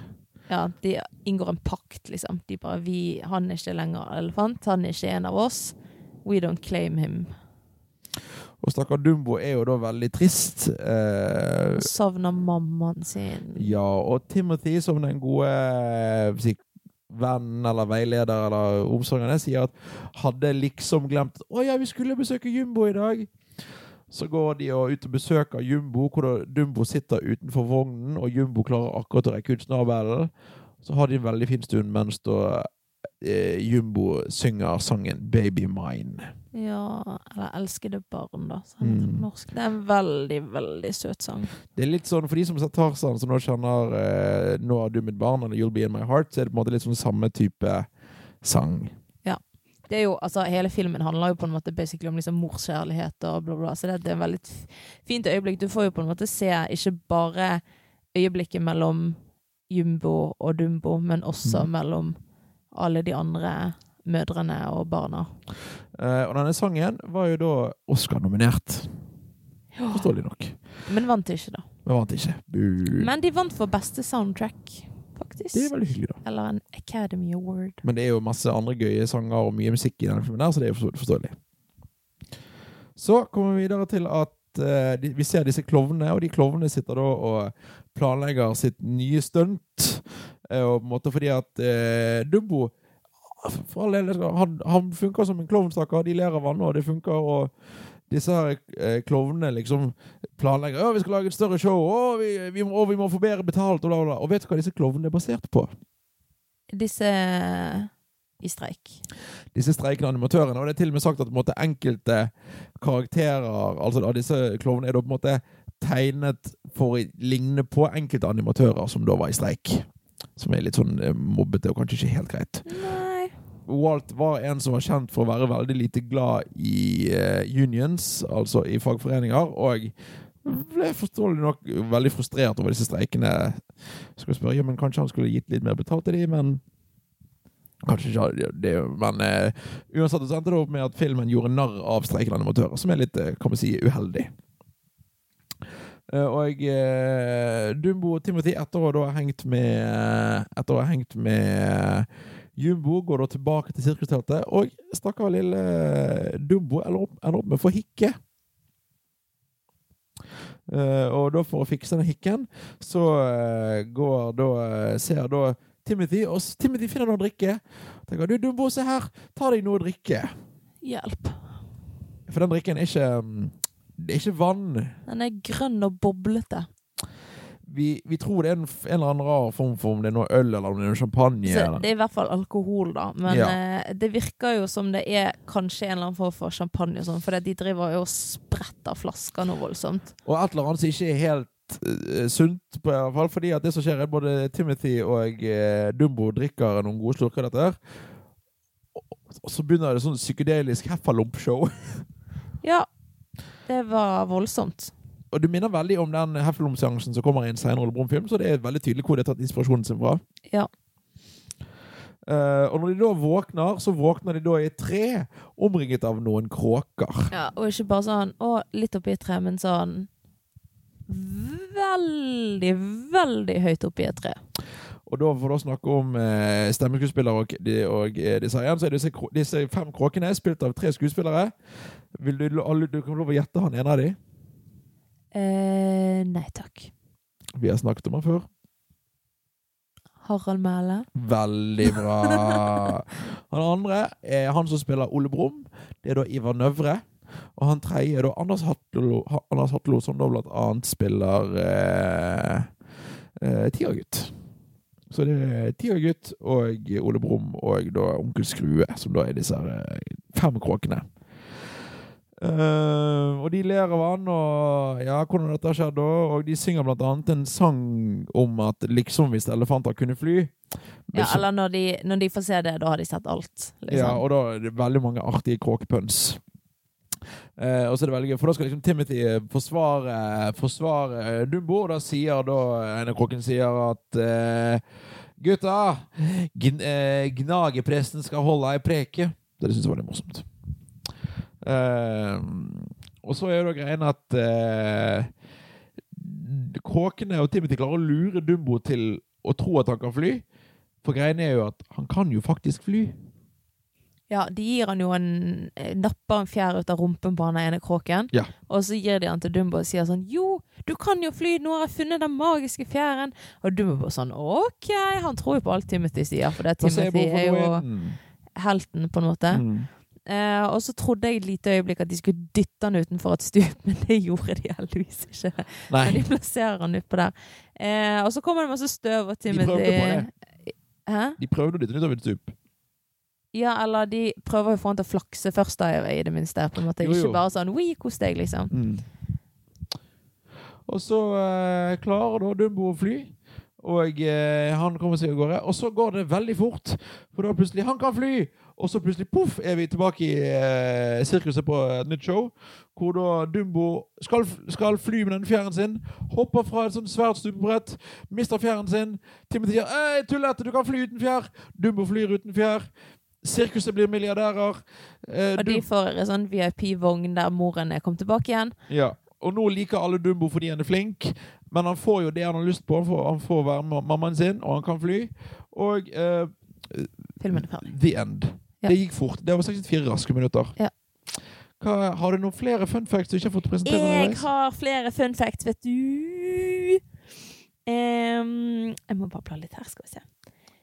[SPEAKER 2] Ja, De inngår en pakt, liksom. De bare vi, 'Han er ikke lenger elefant. Han er ikke en av oss. We don't claim him.'
[SPEAKER 1] Og stakkar Dumbo er jo da veldig trist. Eh,
[SPEAKER 2] Han savner mammaen sin.
[SPEAKER 1] ja, og Timothy, som den gode eh, si, venn eller veileder eller omsorgende, sier at hadde liksom glemt Å ja, vi skulle besøke Jumbo i dag. Så går de og ut og besøker Jumbo, hvor da Dumbo sitter utenfor vognen, og Jumbo klarer akkurat å rekke ut snabelen. Så har de en veldig fin stund mens da eh, Jumbo synger sangen 'Baby Mine'.
[SPEAKER 2] Ja, eller 'Elskede barn', da. Så han heter
[SPEAKER 1] Mm.
[SPEAKER 2] på norsk. Det er en veldig, veldig søt sang.
[SPEAKER 1] Det er litt sånn, For de som har sett Tarzan, som nå kjenner eh, 'Nå er du mitt barn' eller 'You'll be in my heart', så er det på en måte litt sånn samme type sang.
[SPEAKER 2] det er jo, altså Hele filmen handler jo på en måte basically om liksom morskjærlighet og bla, bla. Så det, det er et veldig f- fint øyeblikk. Du får jo på en måte se ikke bare øyeblikket mellom Jumbo og Dumbo, men også
[SPEAKER 1] Mhm.
[SPEAKER 2] mellom alle de andre mødrene og barna.
[SPEAKER 1] Eh, og denne sangen var jo da Oscar-nominert, forståelig nok.
[SPEAKER 2] Men vant ikke, da.
[SPEAKER 1] Men vant ikke. Bu.
[SPEAKER 2] Men de vant for beste soundtrack,
[SPEAKER 1] det er
[SPEAKER 2] faktisk.
[SPEAKER 1] veldig hyggelig, da.
[SPEAKER 2] Eller en Academy Award.
[SPEAKER 1] Men det er jo masse andre gøye sanger og mye musikk i denne filmen, der, så det er jo forstå- forståelig. Så kommer vi videre til at eh, de, vi ser disse klovnene, og de klovnene sitter da og planlegger sitt nye stunt. eh, og på en måte fordi at eh, Dumbo for all del, han, han funker som en klovn, stakkar. De ler av han, og det funker. Og disse her eh, klovnene liksom planlegger Å, vi skal lage et større show, å, vi, vi, må, å, vi må få bedre betalt, og bla, bla. bla. Og vet du hva disse klovnene er basert på?
[SPEAKER 2] Disse eh, i streik.
[SPEAKER 1] Disse streikende animatørene. Og det er til og med sagt at på en måte, enkelte karakterer altså av disse klovnene er da på en måte tegnet for å ligne på enkelte animatører som da var i streik. Som er litt sånn eh, mobbete og kanskje ikke helt greit.
[SPEAKER 2] Nei.
[SPEAKER 1] Walt var en som var kjent for å være veldig lite glad i eh, unions, altså i fagforeninger, og ble forståelig nok veldig frustrert over disse streikene. Skal spørre, ja, men Kanskje han skulle gitt litt mer betalt til de, men Kanskje ikke hadde det, men eh, uansett så endte det opp med at filmen gjorde narr av streikende animatører, som er litt, eh, kan man si, uheldig. Eh, og eh, Dumbo og Timothy, etter å da ha hengt med eh, Etter å ha hengt med Jumbo går da tilbake til sirkusteltet, og stakkar lille eh, Dumbo ender opp, ender opp med å få hikke. Eh, og da for å fikse den hikken, så eh, går da eh, Ser da Timothy, og s- Timothy finner noe å drikke. Tenker du, Dumbo, se her, ta deg noe å drikke.
[SPEAKER 2] Hjelp.
[SPEAKER 1] For den drikken er ikke mm, Det er ikke vann.
[SPEAKER 2] Den er grønn og boblete.
[SPEAKER 1] Vi, vi tror det er en, f- en eller annen rar form for om det er noe øl eller om det er noe champagne.
[SPEAKER 2] Så
[SPEAKER 1] eller-
[SPEAKER 2] det er i hvert fall alkohol, da. Men
[SPEAKER 1] Ja.
[SPEAKER 2] eh, det virker jo som det er kanskje en eller annen form for champagne og sånn, for de driver jo og spretter flasker noe voldsomt.
[SPEAKER 1] Og et eller annet som ikke er helt eh, sunt, på hvert fall, fordi at det som skjer, er både Timothy og eh, Dumbo drikker noen gode slurker av dette. her. Og, og så begynner det sånn psykedelisk heffalump-show.
[SPEAKER 2] Ja, det var voldsomt.
[SPEAKER 1] Og det minner veldig om den heffalump-seansen som kommer i en senere Ole Brumm-film, så det er veldig tydelig hvor de har tatt inspirasjonen sin fra.
[SPEAKER 2] Ja.
[SPEAKER 1] Eh, og når de da våkner, så våkner de da i et tre, omringet av noen kråker.
[SPEAKER 2] ja og ikke bare sånn å, litt oppi et tre, men sånn veldig, veldig høyt oppi et tre.
[SPEAKER 1] Og da for å snakke om eh, stemmeskuespillere og, de, og eh, design, så er disse, kro- disse fem kråkene spilt av tre skuespillere. Vil du, lo- alle, du kan få lov å gjette han ene av de.
[SPEAKER 2] Eh, nei takk.
[SPEAKER 1] Vi har snakket om han før.
[SPEAKER 2] Harald Mæle.
[SPEAKER 1] Veldig bra. Han andre er han som spiller Ole Brumm. Det er da Ivar Nøvre. Og han tredje er da Anders Hatlo, Ha- Anders Hatlo som da blant annet spiller eh, eh, Tigergutt. Så det er Tigergutt og Ole Brumm og da Onkel Skrue, som da er disse her, eh, fem kråkene. Eh, og de ler av han, og ja, hvordan dette har skjedd da. Og de synger blant annet en sang om at liksom hvis elefanter kunne fly
[SPEAKER 2] Ja,
[SPEAKER 1] så-
[SPEAKER 2] eller når de, når de får se det, da har de sett alt. Liksom.
[SPEAKER 1] ja, og da er det veldig mange artige kråkepøns. Eh, og så er det veldig gøy, for da skal liksom Timothy eh, forsvare, forsvare eh, Dumbo, og da sier da en av kråkene sier at eh, Gutta! Gn eh, gnagepresten skal holde ei preke. Det syns jeg var litt morsomt. Eh, og så er det da greien at eh, kråkene og Timothy klarer å lure Dumbo til å tro at han kan fly. For greien er jo at han kan jo faktisk fly.
[SPEAKER 2] Ja, de gir han jo en eh, Napper en fjær ut av rumpen på han ene kråken.
[SPEAKER 1] Ja.
[SPEAKER 2] Og så gir de han til Dumbo og sier sånn Jo, du kan jo fly! Nå har jeg funnet den magiske fjæren! Og Dumbo bare sånn OK! Han tror jo på alt Timothy sier, for det
[SPEAKER 1] Da ser Altså, jeg
[SPEAKER 2] Timothy er
[SPEAKER 1] hvorfor
[SPEAKER 2] jo
[SPEAKER 1] gå inn.
[SPEAKER 2] helten, på en måte.
[SPEAKER 1] Mm.
[SPEAKER 2] Eh, og så trodde jeg et lite øyeblikk at de skulle dytte han utenfor et stup, men det gjorde de heldigvis ikke. Men
[SPEAKER 1] Nei,
[SPEAKER 2] de plasserer han utpå der. Eh, og så kommer det masse støv og
[SPEAKER 1] prøvde
[SPEAKER 2] Timothy
[SPEAKER 1] på
[SPEAKER 2] Hæ?
[SPEAKER 1] de prøvde å dytte den utover et stup.
[SPEAKER 2] Ja, eller de prøver jo å få han til å flakse først, da, i det minste. På en måte.
[SPEAKER 1] Jo, jo.
[SPEAKER 2] Ikke bare sånn 'oi, kos deg', liksom.
[SPEAKER 1] Mm. Og så eh, klarer da Dumbo å fly. Og eh, han kommer seg av gårde. Og så går det veldig fort. For da plutselig Han kan fly! Og så plutselig poff, er vi tilbake i eh, sirkuset på et nytt show. Hvor da Dumbo skal, f- skal fly med den fjæren sin. Hopper fra et sånt svært stupebrett. Mister fjæren sin. Timothy sier «Ei, tullete, du kan fly uten fjær! Dumbo flyr uten fjær. Sirkuset blir milliardærer. Eh,
[SPEAKER 2] Og
[SPEAKER 1] Dum-
[SPEAKER 2] de får en sånn VIP-vogn der moren er kommet tilbake igjen.
[SPEAKER 1] Ja. Og nå liker alle Dumbo fordi han er flink, men han får jo det han har lyst på. For han får være ma- mammaen sin, og han kan fly. Og eh,
[SPEAKER 2] Filmen er ferdig.
[SPEAKER 1] the end.
[SPEAKER 2] Ja.
[SPEAKER 1] Det gikk fort. Det var 64 raske minutter.
[SPEAKER 2] Ja.
[SPEAKER 1] Hva, har du noen flere fun facts du ikke har fått presentere?
[SPEAKER 2] Jeg
[SPEAKER 1] underveis?
[SPEAKER 2] har flere fun facts, vet du. Em, jeg må bare bla litt her, skal vi se.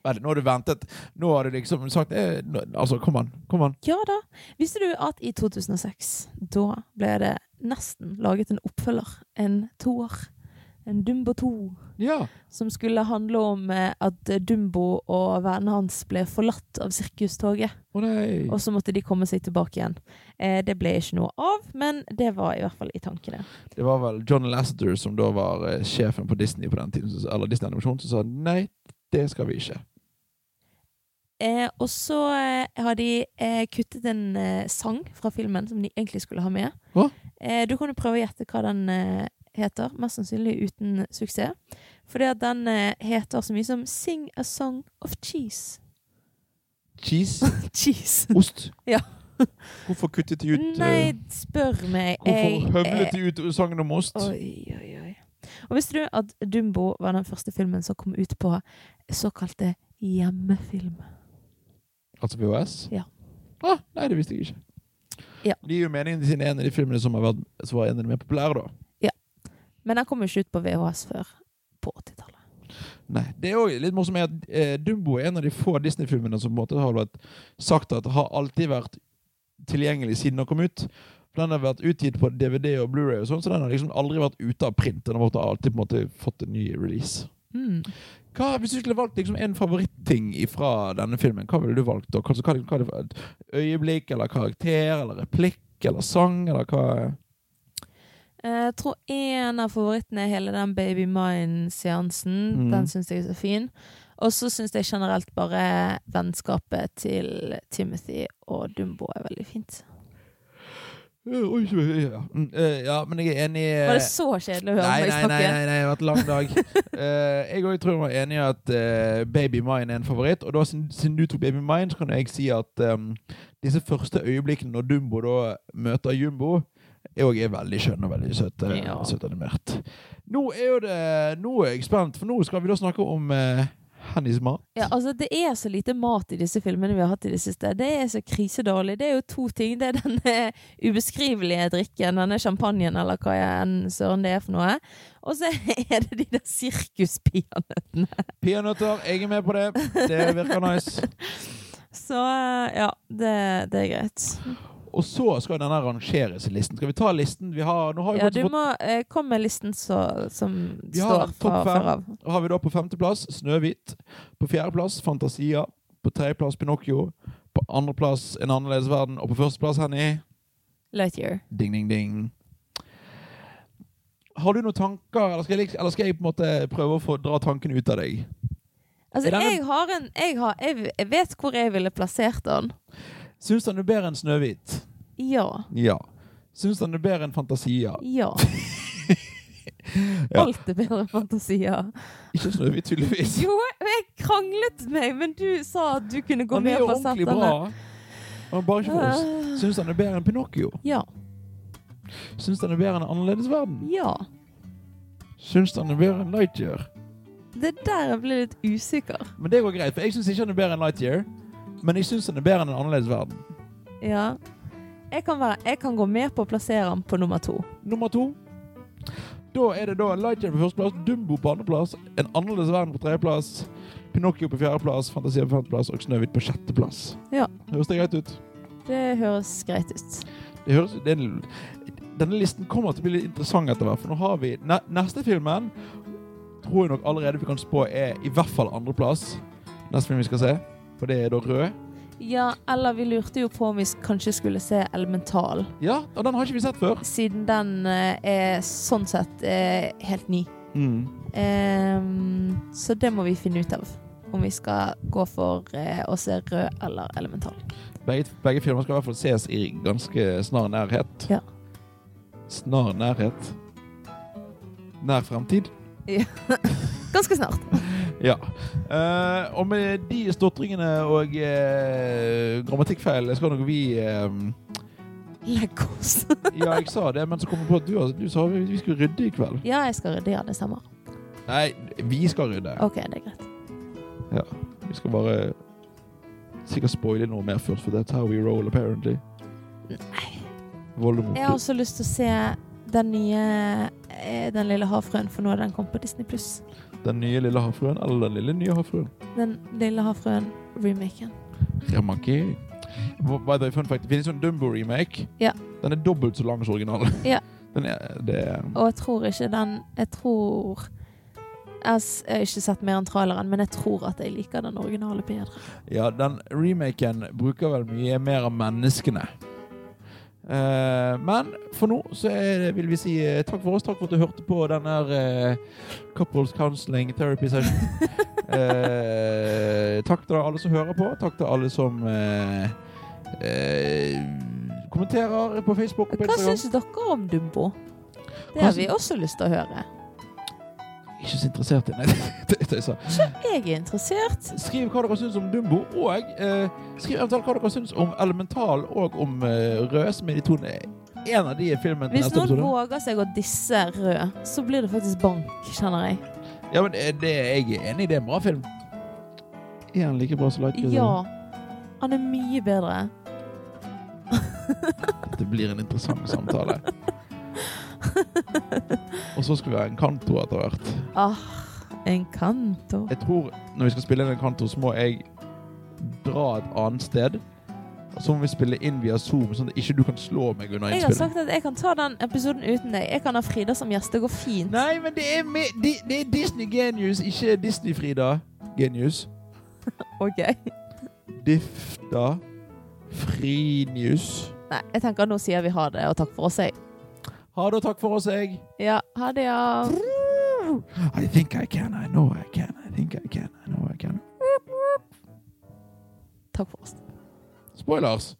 [SPEAKER 1] Vel, nå har du ventet. Nå har du liksom sagt eh, nå, Altså, kom an. Kom an.
[SPEAKER 2] Ja da. Visste du at i 2006, da ble det nesten laget en oppfølger, en toer, en Dumbo 2,
[SPEAKER 1] Ja.
[SPEAKER 2] som skulle handle om eh, at Dumbo og vennene hans ble forlatt av sirkustoget,
[SPEAKER 1] Å nei.
[SPEAKER 2] og så måtte de komme seg tilbake igjen. Eh, det ble ikke noe av, men det var i hvert fall i tankene.
[SPEAKER 1] Det var vel John Lasseter som da var eh, sjefen på Disney på den tiden, som- eller Disney Animasjon, som sa nei, det skal vi ikke.
[SPEAKER 2] Eh, og så eh, har de eh, kuttet en eh, sang fra filmen som de egentlig skulle ha med.
[SPEAKER 1] Hva?
[SPEAKER 2] Eh, du kan jo prøve å gjette hva den eh, heter. Mest sannsynlig uten suksess. Fordi at den eh, heter så mye som 'Sing a song of cheese'.
[SPEAKER 1] Cheese?
[SPEAKER 2] cheese.
[SPEAKER 1] Ost?
[SPEAKER 2] Ja.
[SPEAKER 1] Hvorfor kuttet de ut eh,
[SPEAKER 2] Nei, spør meg.
[SPEAKER 1] Hvorfor høvlet
[SPEAKER 2] jeg-
[SPEAKER 1] de ut sangen om ost?
[SPEAKER 2] Oi, oi, oi. Og visste du at Dumbo var den første filmen som kom ut på såkalte hjemmefilm?
[SPEAKER 1] Altså VHS?
[SPEAKER 2] Ja.
[SPEAKER 1] Ah, nei, det visste jeg ikke.
[SPEAKER 2] Ja.
[SPEAKER 1] De gir jo meningen til en av de filmene som, har vært, som var en av de mer populære, da.
[SPEAKER 2] Men den kom jo ikke ut på VHS før på 80-tallet.
[SPEAKER 1] Nei, det er også litt morsomt med at eh, Dumbo er en av de få Disney-filmene som på en måte har vært sagt at har alltid vært tilgjengelig siden den kom ut. For Den har vært utgitt på DVD og Blu-ray og sånn, så den har liksom aldri vært ute av print. Den har måttet- alltid på en måte fått en ny release.
[SPEAKER 2] Mm.
[SPEAKER 1] Hva, hvis du skulle valgt liksom en favorittting fra denne filmen, hva ville du valgt da? Altså, hva, hva, er det- et øyeblikk, eller karakter, eller replikk, eller sang, eller hva?
[SPEAKER 2] Eh, Jeg tror en av favorittene er hele den Baby Mine-seansen.
[SPEAKER 1] Mm.
[SPEAKER 2] Den syns jeg er så fin. Og så syns jeg generelt bare vennskapet til Timothy og Dumbo er veldig fint.
[SPEAKER 1] Eh, Oi, ja. Mm, eh, ja, men jeg er enig eh,
[SPEAKER 2] Var det så kjedelig å høre
[SPEAKER 1] Nei,
[SPEAKER 2] meg
[SPEAKER 1] nei, nei,
[SPEAKER 2] snakke?
[SPEAKER 1] nei, nei, det har vært en lang dag. Eh, jeg òg tror jeg var enig i at eh, Baby Mine er en favoritt. Og da siden siden du tok Baby Mine, så kan jeg si at um, disse første øyeblikkene når Dumbo da møter Jumbo, er også er veldig skjønn og veldig søt, eh,
[SPEAKER 2] Ja.
[SPEAKER 1] søt animert. Nå er jo det Nå er jeg spent, for nå skal vi da snakke om eh, Hennys mat.
[SPEAKER 2] Ja, altså, det er så lite mat i disse filmene vi har hatt i det siste. Det er så krisedårlig. Det er jo to ting. Det er denne ubeskrivelige drikken, denne champagnen eller hva enn søren det er for noe. Og så er det de der sirkuspianøttene.
[SPEAKER 1] Peanøtter, jeg er med på det. Det virker nice.
[SPEAKER 2] Så eh, ja, det, det er greit.
[SPEAKER 1] Og så skal denne rangeres i listen. Skal vi ta listen vi har? Nå har vi
[SPEAKER 2] Ja,
[SPEAKER 1] faktisk
[SPEAKER 2] du
[SPEAKER 1] fått
[SPEAKER 2] må eh, komme med listen så, som
[SPEAKER 1] Vi har
[SPEAKER 2] står
[SPEAKER 1] en
[SPEAKER 2] fra
[SPEAKER 1] topp fem.
[SPEAKER 2] før av.
[SPEAKER 1] Da har vi da på femteplass Snøhvit. På fjerdeplass Fantasia. På tredjeplass Pinocchio. På andreplass En annerledes verden. Og på førsteplass Henny
[SPEAKER 2] Lightyear.
[SPEAKER 1] Ding, ding, ding. Har du noen tanker, eller skal jeg, liks- eller skal jeg på en måte prøve å få dra tankene ut av deg?
[SPEAKER 2] Altså,
[SPEAKER 1] Er den en-
[SPEAKER 2] jeg har en jeg, har, jeg, jeg vet hvor jeg ville plassert den.
[SPEAKER 1] Syns den er bedre enn Snøhvit?
[SPEAKER 2] Ja.
[SPEAKER 1] Ja. Syns den er bedre enn Fantasia?
[SPEAKER 2] Ja.
[SPEAKER 1] Ja.
[SPEAKER 2] Alt er bedre enn fantasier.
[SPEAKER 1] Ikke Snøhvit, tydeligvis.
[SPEAKER 2] Jo, jeg kranglet meg, men du sa at du kunne gå
[SPEAKER 1] Han er
[SPEAKER 2] med
[SPEAKER 1] jo
[SPEAKER 2] på
[SPEAKER 1] ordentlig bra. Han er bare ikke for oss.
[SPEAKER 2] Øh,
[SPEAKER 1] Syns den er bedre enn Pinocchio?
[SPEAKER 2] Ja.
[SPEAKER 1] Syns den er bedre enn En annerledes verden?
[SPEAKER 2] Ja.
[SPEAKER 1] Syns den er bedre enn Lightyear?
[SPEAKER 2] Det er der jeg ble litt usikker.
[SPEAKER 1] Men det går greit, for jeg syns ikke han er bedre enn Lightyear. Men jeg syns han er bedre enn en annerledes verden.
[SPEAKER 2] Ja. Jeg kan, være, jeg kan gå med på å plassere den på nummer to.
[SPEAKER 1] Nummer to. Da er det da Lightyear på førsteplass, Dumbo på andreplass, En annerledes verden på tredjeplass, Pinocchio på fjerdeplass, Fantasia på femteplass og Snøhvit på sjetteplass.
[SPEAKER 2] Ja.
[SPEAKER 1] Høres det greit ut?
[SPEAKER 2] Det høres greit ut.
[SPEAKER 1] Det høres, det er en, denne listen kommer til å bli litt interessant etter hvert, for nå har vi ne, Neste filmen tror jeg nok allerede vi kan spå er i hvert fall andreplass. Neste film vi skal se, for det er da Rød.
[SPEAKER 2] Ja, eller vi lurte jo på om vi s- kanskje skulle se Elemental,
[SPEAKER 1] Ja, og den har ikke vi sett før.
[SPEAKER 2] siden den eh, er sånn sett eh, helt ny.
[SPEAKER 1] Mm.
[SPEAKER 2] Eh, Ehm, så det må vi finne ut av, om vi skal gå for eh, å se Rød eller Elemental.
[SPEAKER 1] Begge, begge filmer skal i hvert fall ses i ganske snar nærhet.
[SPEAKER 2] Ja.
[SPEAKER 1] Snar nærhet. Nær fremtid.
[SPEAKER 2] Ganske snart.
[SPEAKER 1] Ja. Eh, og med de stotringene og eh, grammatikkfeil skal nok vi eh,
[SPEAKER 2] Legg oss.
[SPEAKER 1] Ja, jeg sa det, men så kom jeg på at du, altså, du sa vi, vi skulle rydde i kveld.
[SPEAKER 2] ja, jeg skal rydde. Ja, det stemmer.
[SPEAKER 1] Nei, vi skal rydde.
[SPEAKER 2] OK, det er greit.
[SPEAKER 1] Vi skal bare sikkert spoile noe mer først, for that's how we roll, apparently.
[SPEAKER 2] Nei.
[SPEAKER 1] Voldemort.
[SPEAKER 2] Jeg har også lyst til å se den nye eh, Den lille havfrøen, for nå er den kommet på Disney pluss.
[SPEAKER 1] Den nye lille havfruen eller den lille nye havfruen?
[SPEAKER 2] Den lille havfruen-remaken.
[SPEAKER 1] Remarkering. By the way, fun fact, det finnes en Dumbo-remake.
[SPEAKER 2] Ja.
[SPEAKER 1] Den er dobbelt så lang som originalen.
[SPEAKER 2] Ja.
[SPEAKER 1] Den er, det er
[SPEAKER 2] Og jeg tror ikke den Jeg tror Jeg har s- jeg har ikke sett mer enn traileren, men jeg tror at jeg liker den originale bedre.
[SPEAKER 1] Ja, den remaken bruker vel mye mer av menneskene. Eh, men for nå så er det, vil vi si eh, takk for oss. Takk for at du hørte på denne eh, Couples Counseling Therapy Session. Eh, takk til alle som hører på. Takk til alle som eh, eh, kommenterer på Facebook. og På
[SPEAKER 2] Hva
[SPEAKER 1] Instagram.
[SPEAKER 2] syns dere om Dumbo? Det
[SPEAKER 1] Hva
[SPEAKER 2] har
[SPEAKER 1] syns-
[SPEAKER 2] vi også lyst til å høre.
[SPEAKER 1] Ikke så interessert i Nei, det tøyser.
[SPEAKER 2] Jeg er interessert.
[SPEAKER 1] Skriv hva dere syns om Dumbo, og eh, skriv eventuelt hva dere syns om Elemental og om eh, Rød, som er de to En av de i filmen til
[SPEAKER 2] Hvis
[SPEAKER 1] neste
[SPEAKER 2] noen
[SPEAKER 1] episode.
[SPEAKER 2] våger seg å disse rød, så blir det faktisk bank, kjenner jeg.
[SPEAKER 1] Ja, men eh, det, jeg er enig i, det er en bra film. Er han like bra som Lightyear?
[SPEAKER 2] Ja. Han er mye bedre.
[SPEAKER 1] Det blir en interessant samtale. Og så skal vi ha en kanto etter hvert.
[SPEAKER 2] Ah, en kanto.
[SPEAKER 1] Jeg tror når vi skal spille inn en kanto, så må jeg dra et annet sted. Og så må vi spille inn via Zoom, sånn at ikke du kan slå meg under
[SPEAKER 2] Jeg har
[SPEAKER 1] innspilling.
[SPEAKER 2] sagt at jeg kan ta den episoden uten deg. Jeg kan ha Frida som gjest. Det går fint.
[SPEAKER 1] Nei, men det er, med, det, det er Disney Genius, ikke Disney-Frida Genius.
[SPEAKER 2] Ok.
[SPEAKER 1] Difta Frinius.
[SPEAKER 2] Nei, jeg tenker nå sier vi ha det, og takk for oss, jeg.
[SPEAKER 1] Ha det og takk for oss, jeg.
[SPEAKER 2] Ja, ha det, ja.
[SPEAKER 1] I think I can, I know I can, I think I can, I know I can.
[SPEAKER 2] Takk for oss.
[SPEAKER 1] Spoilers!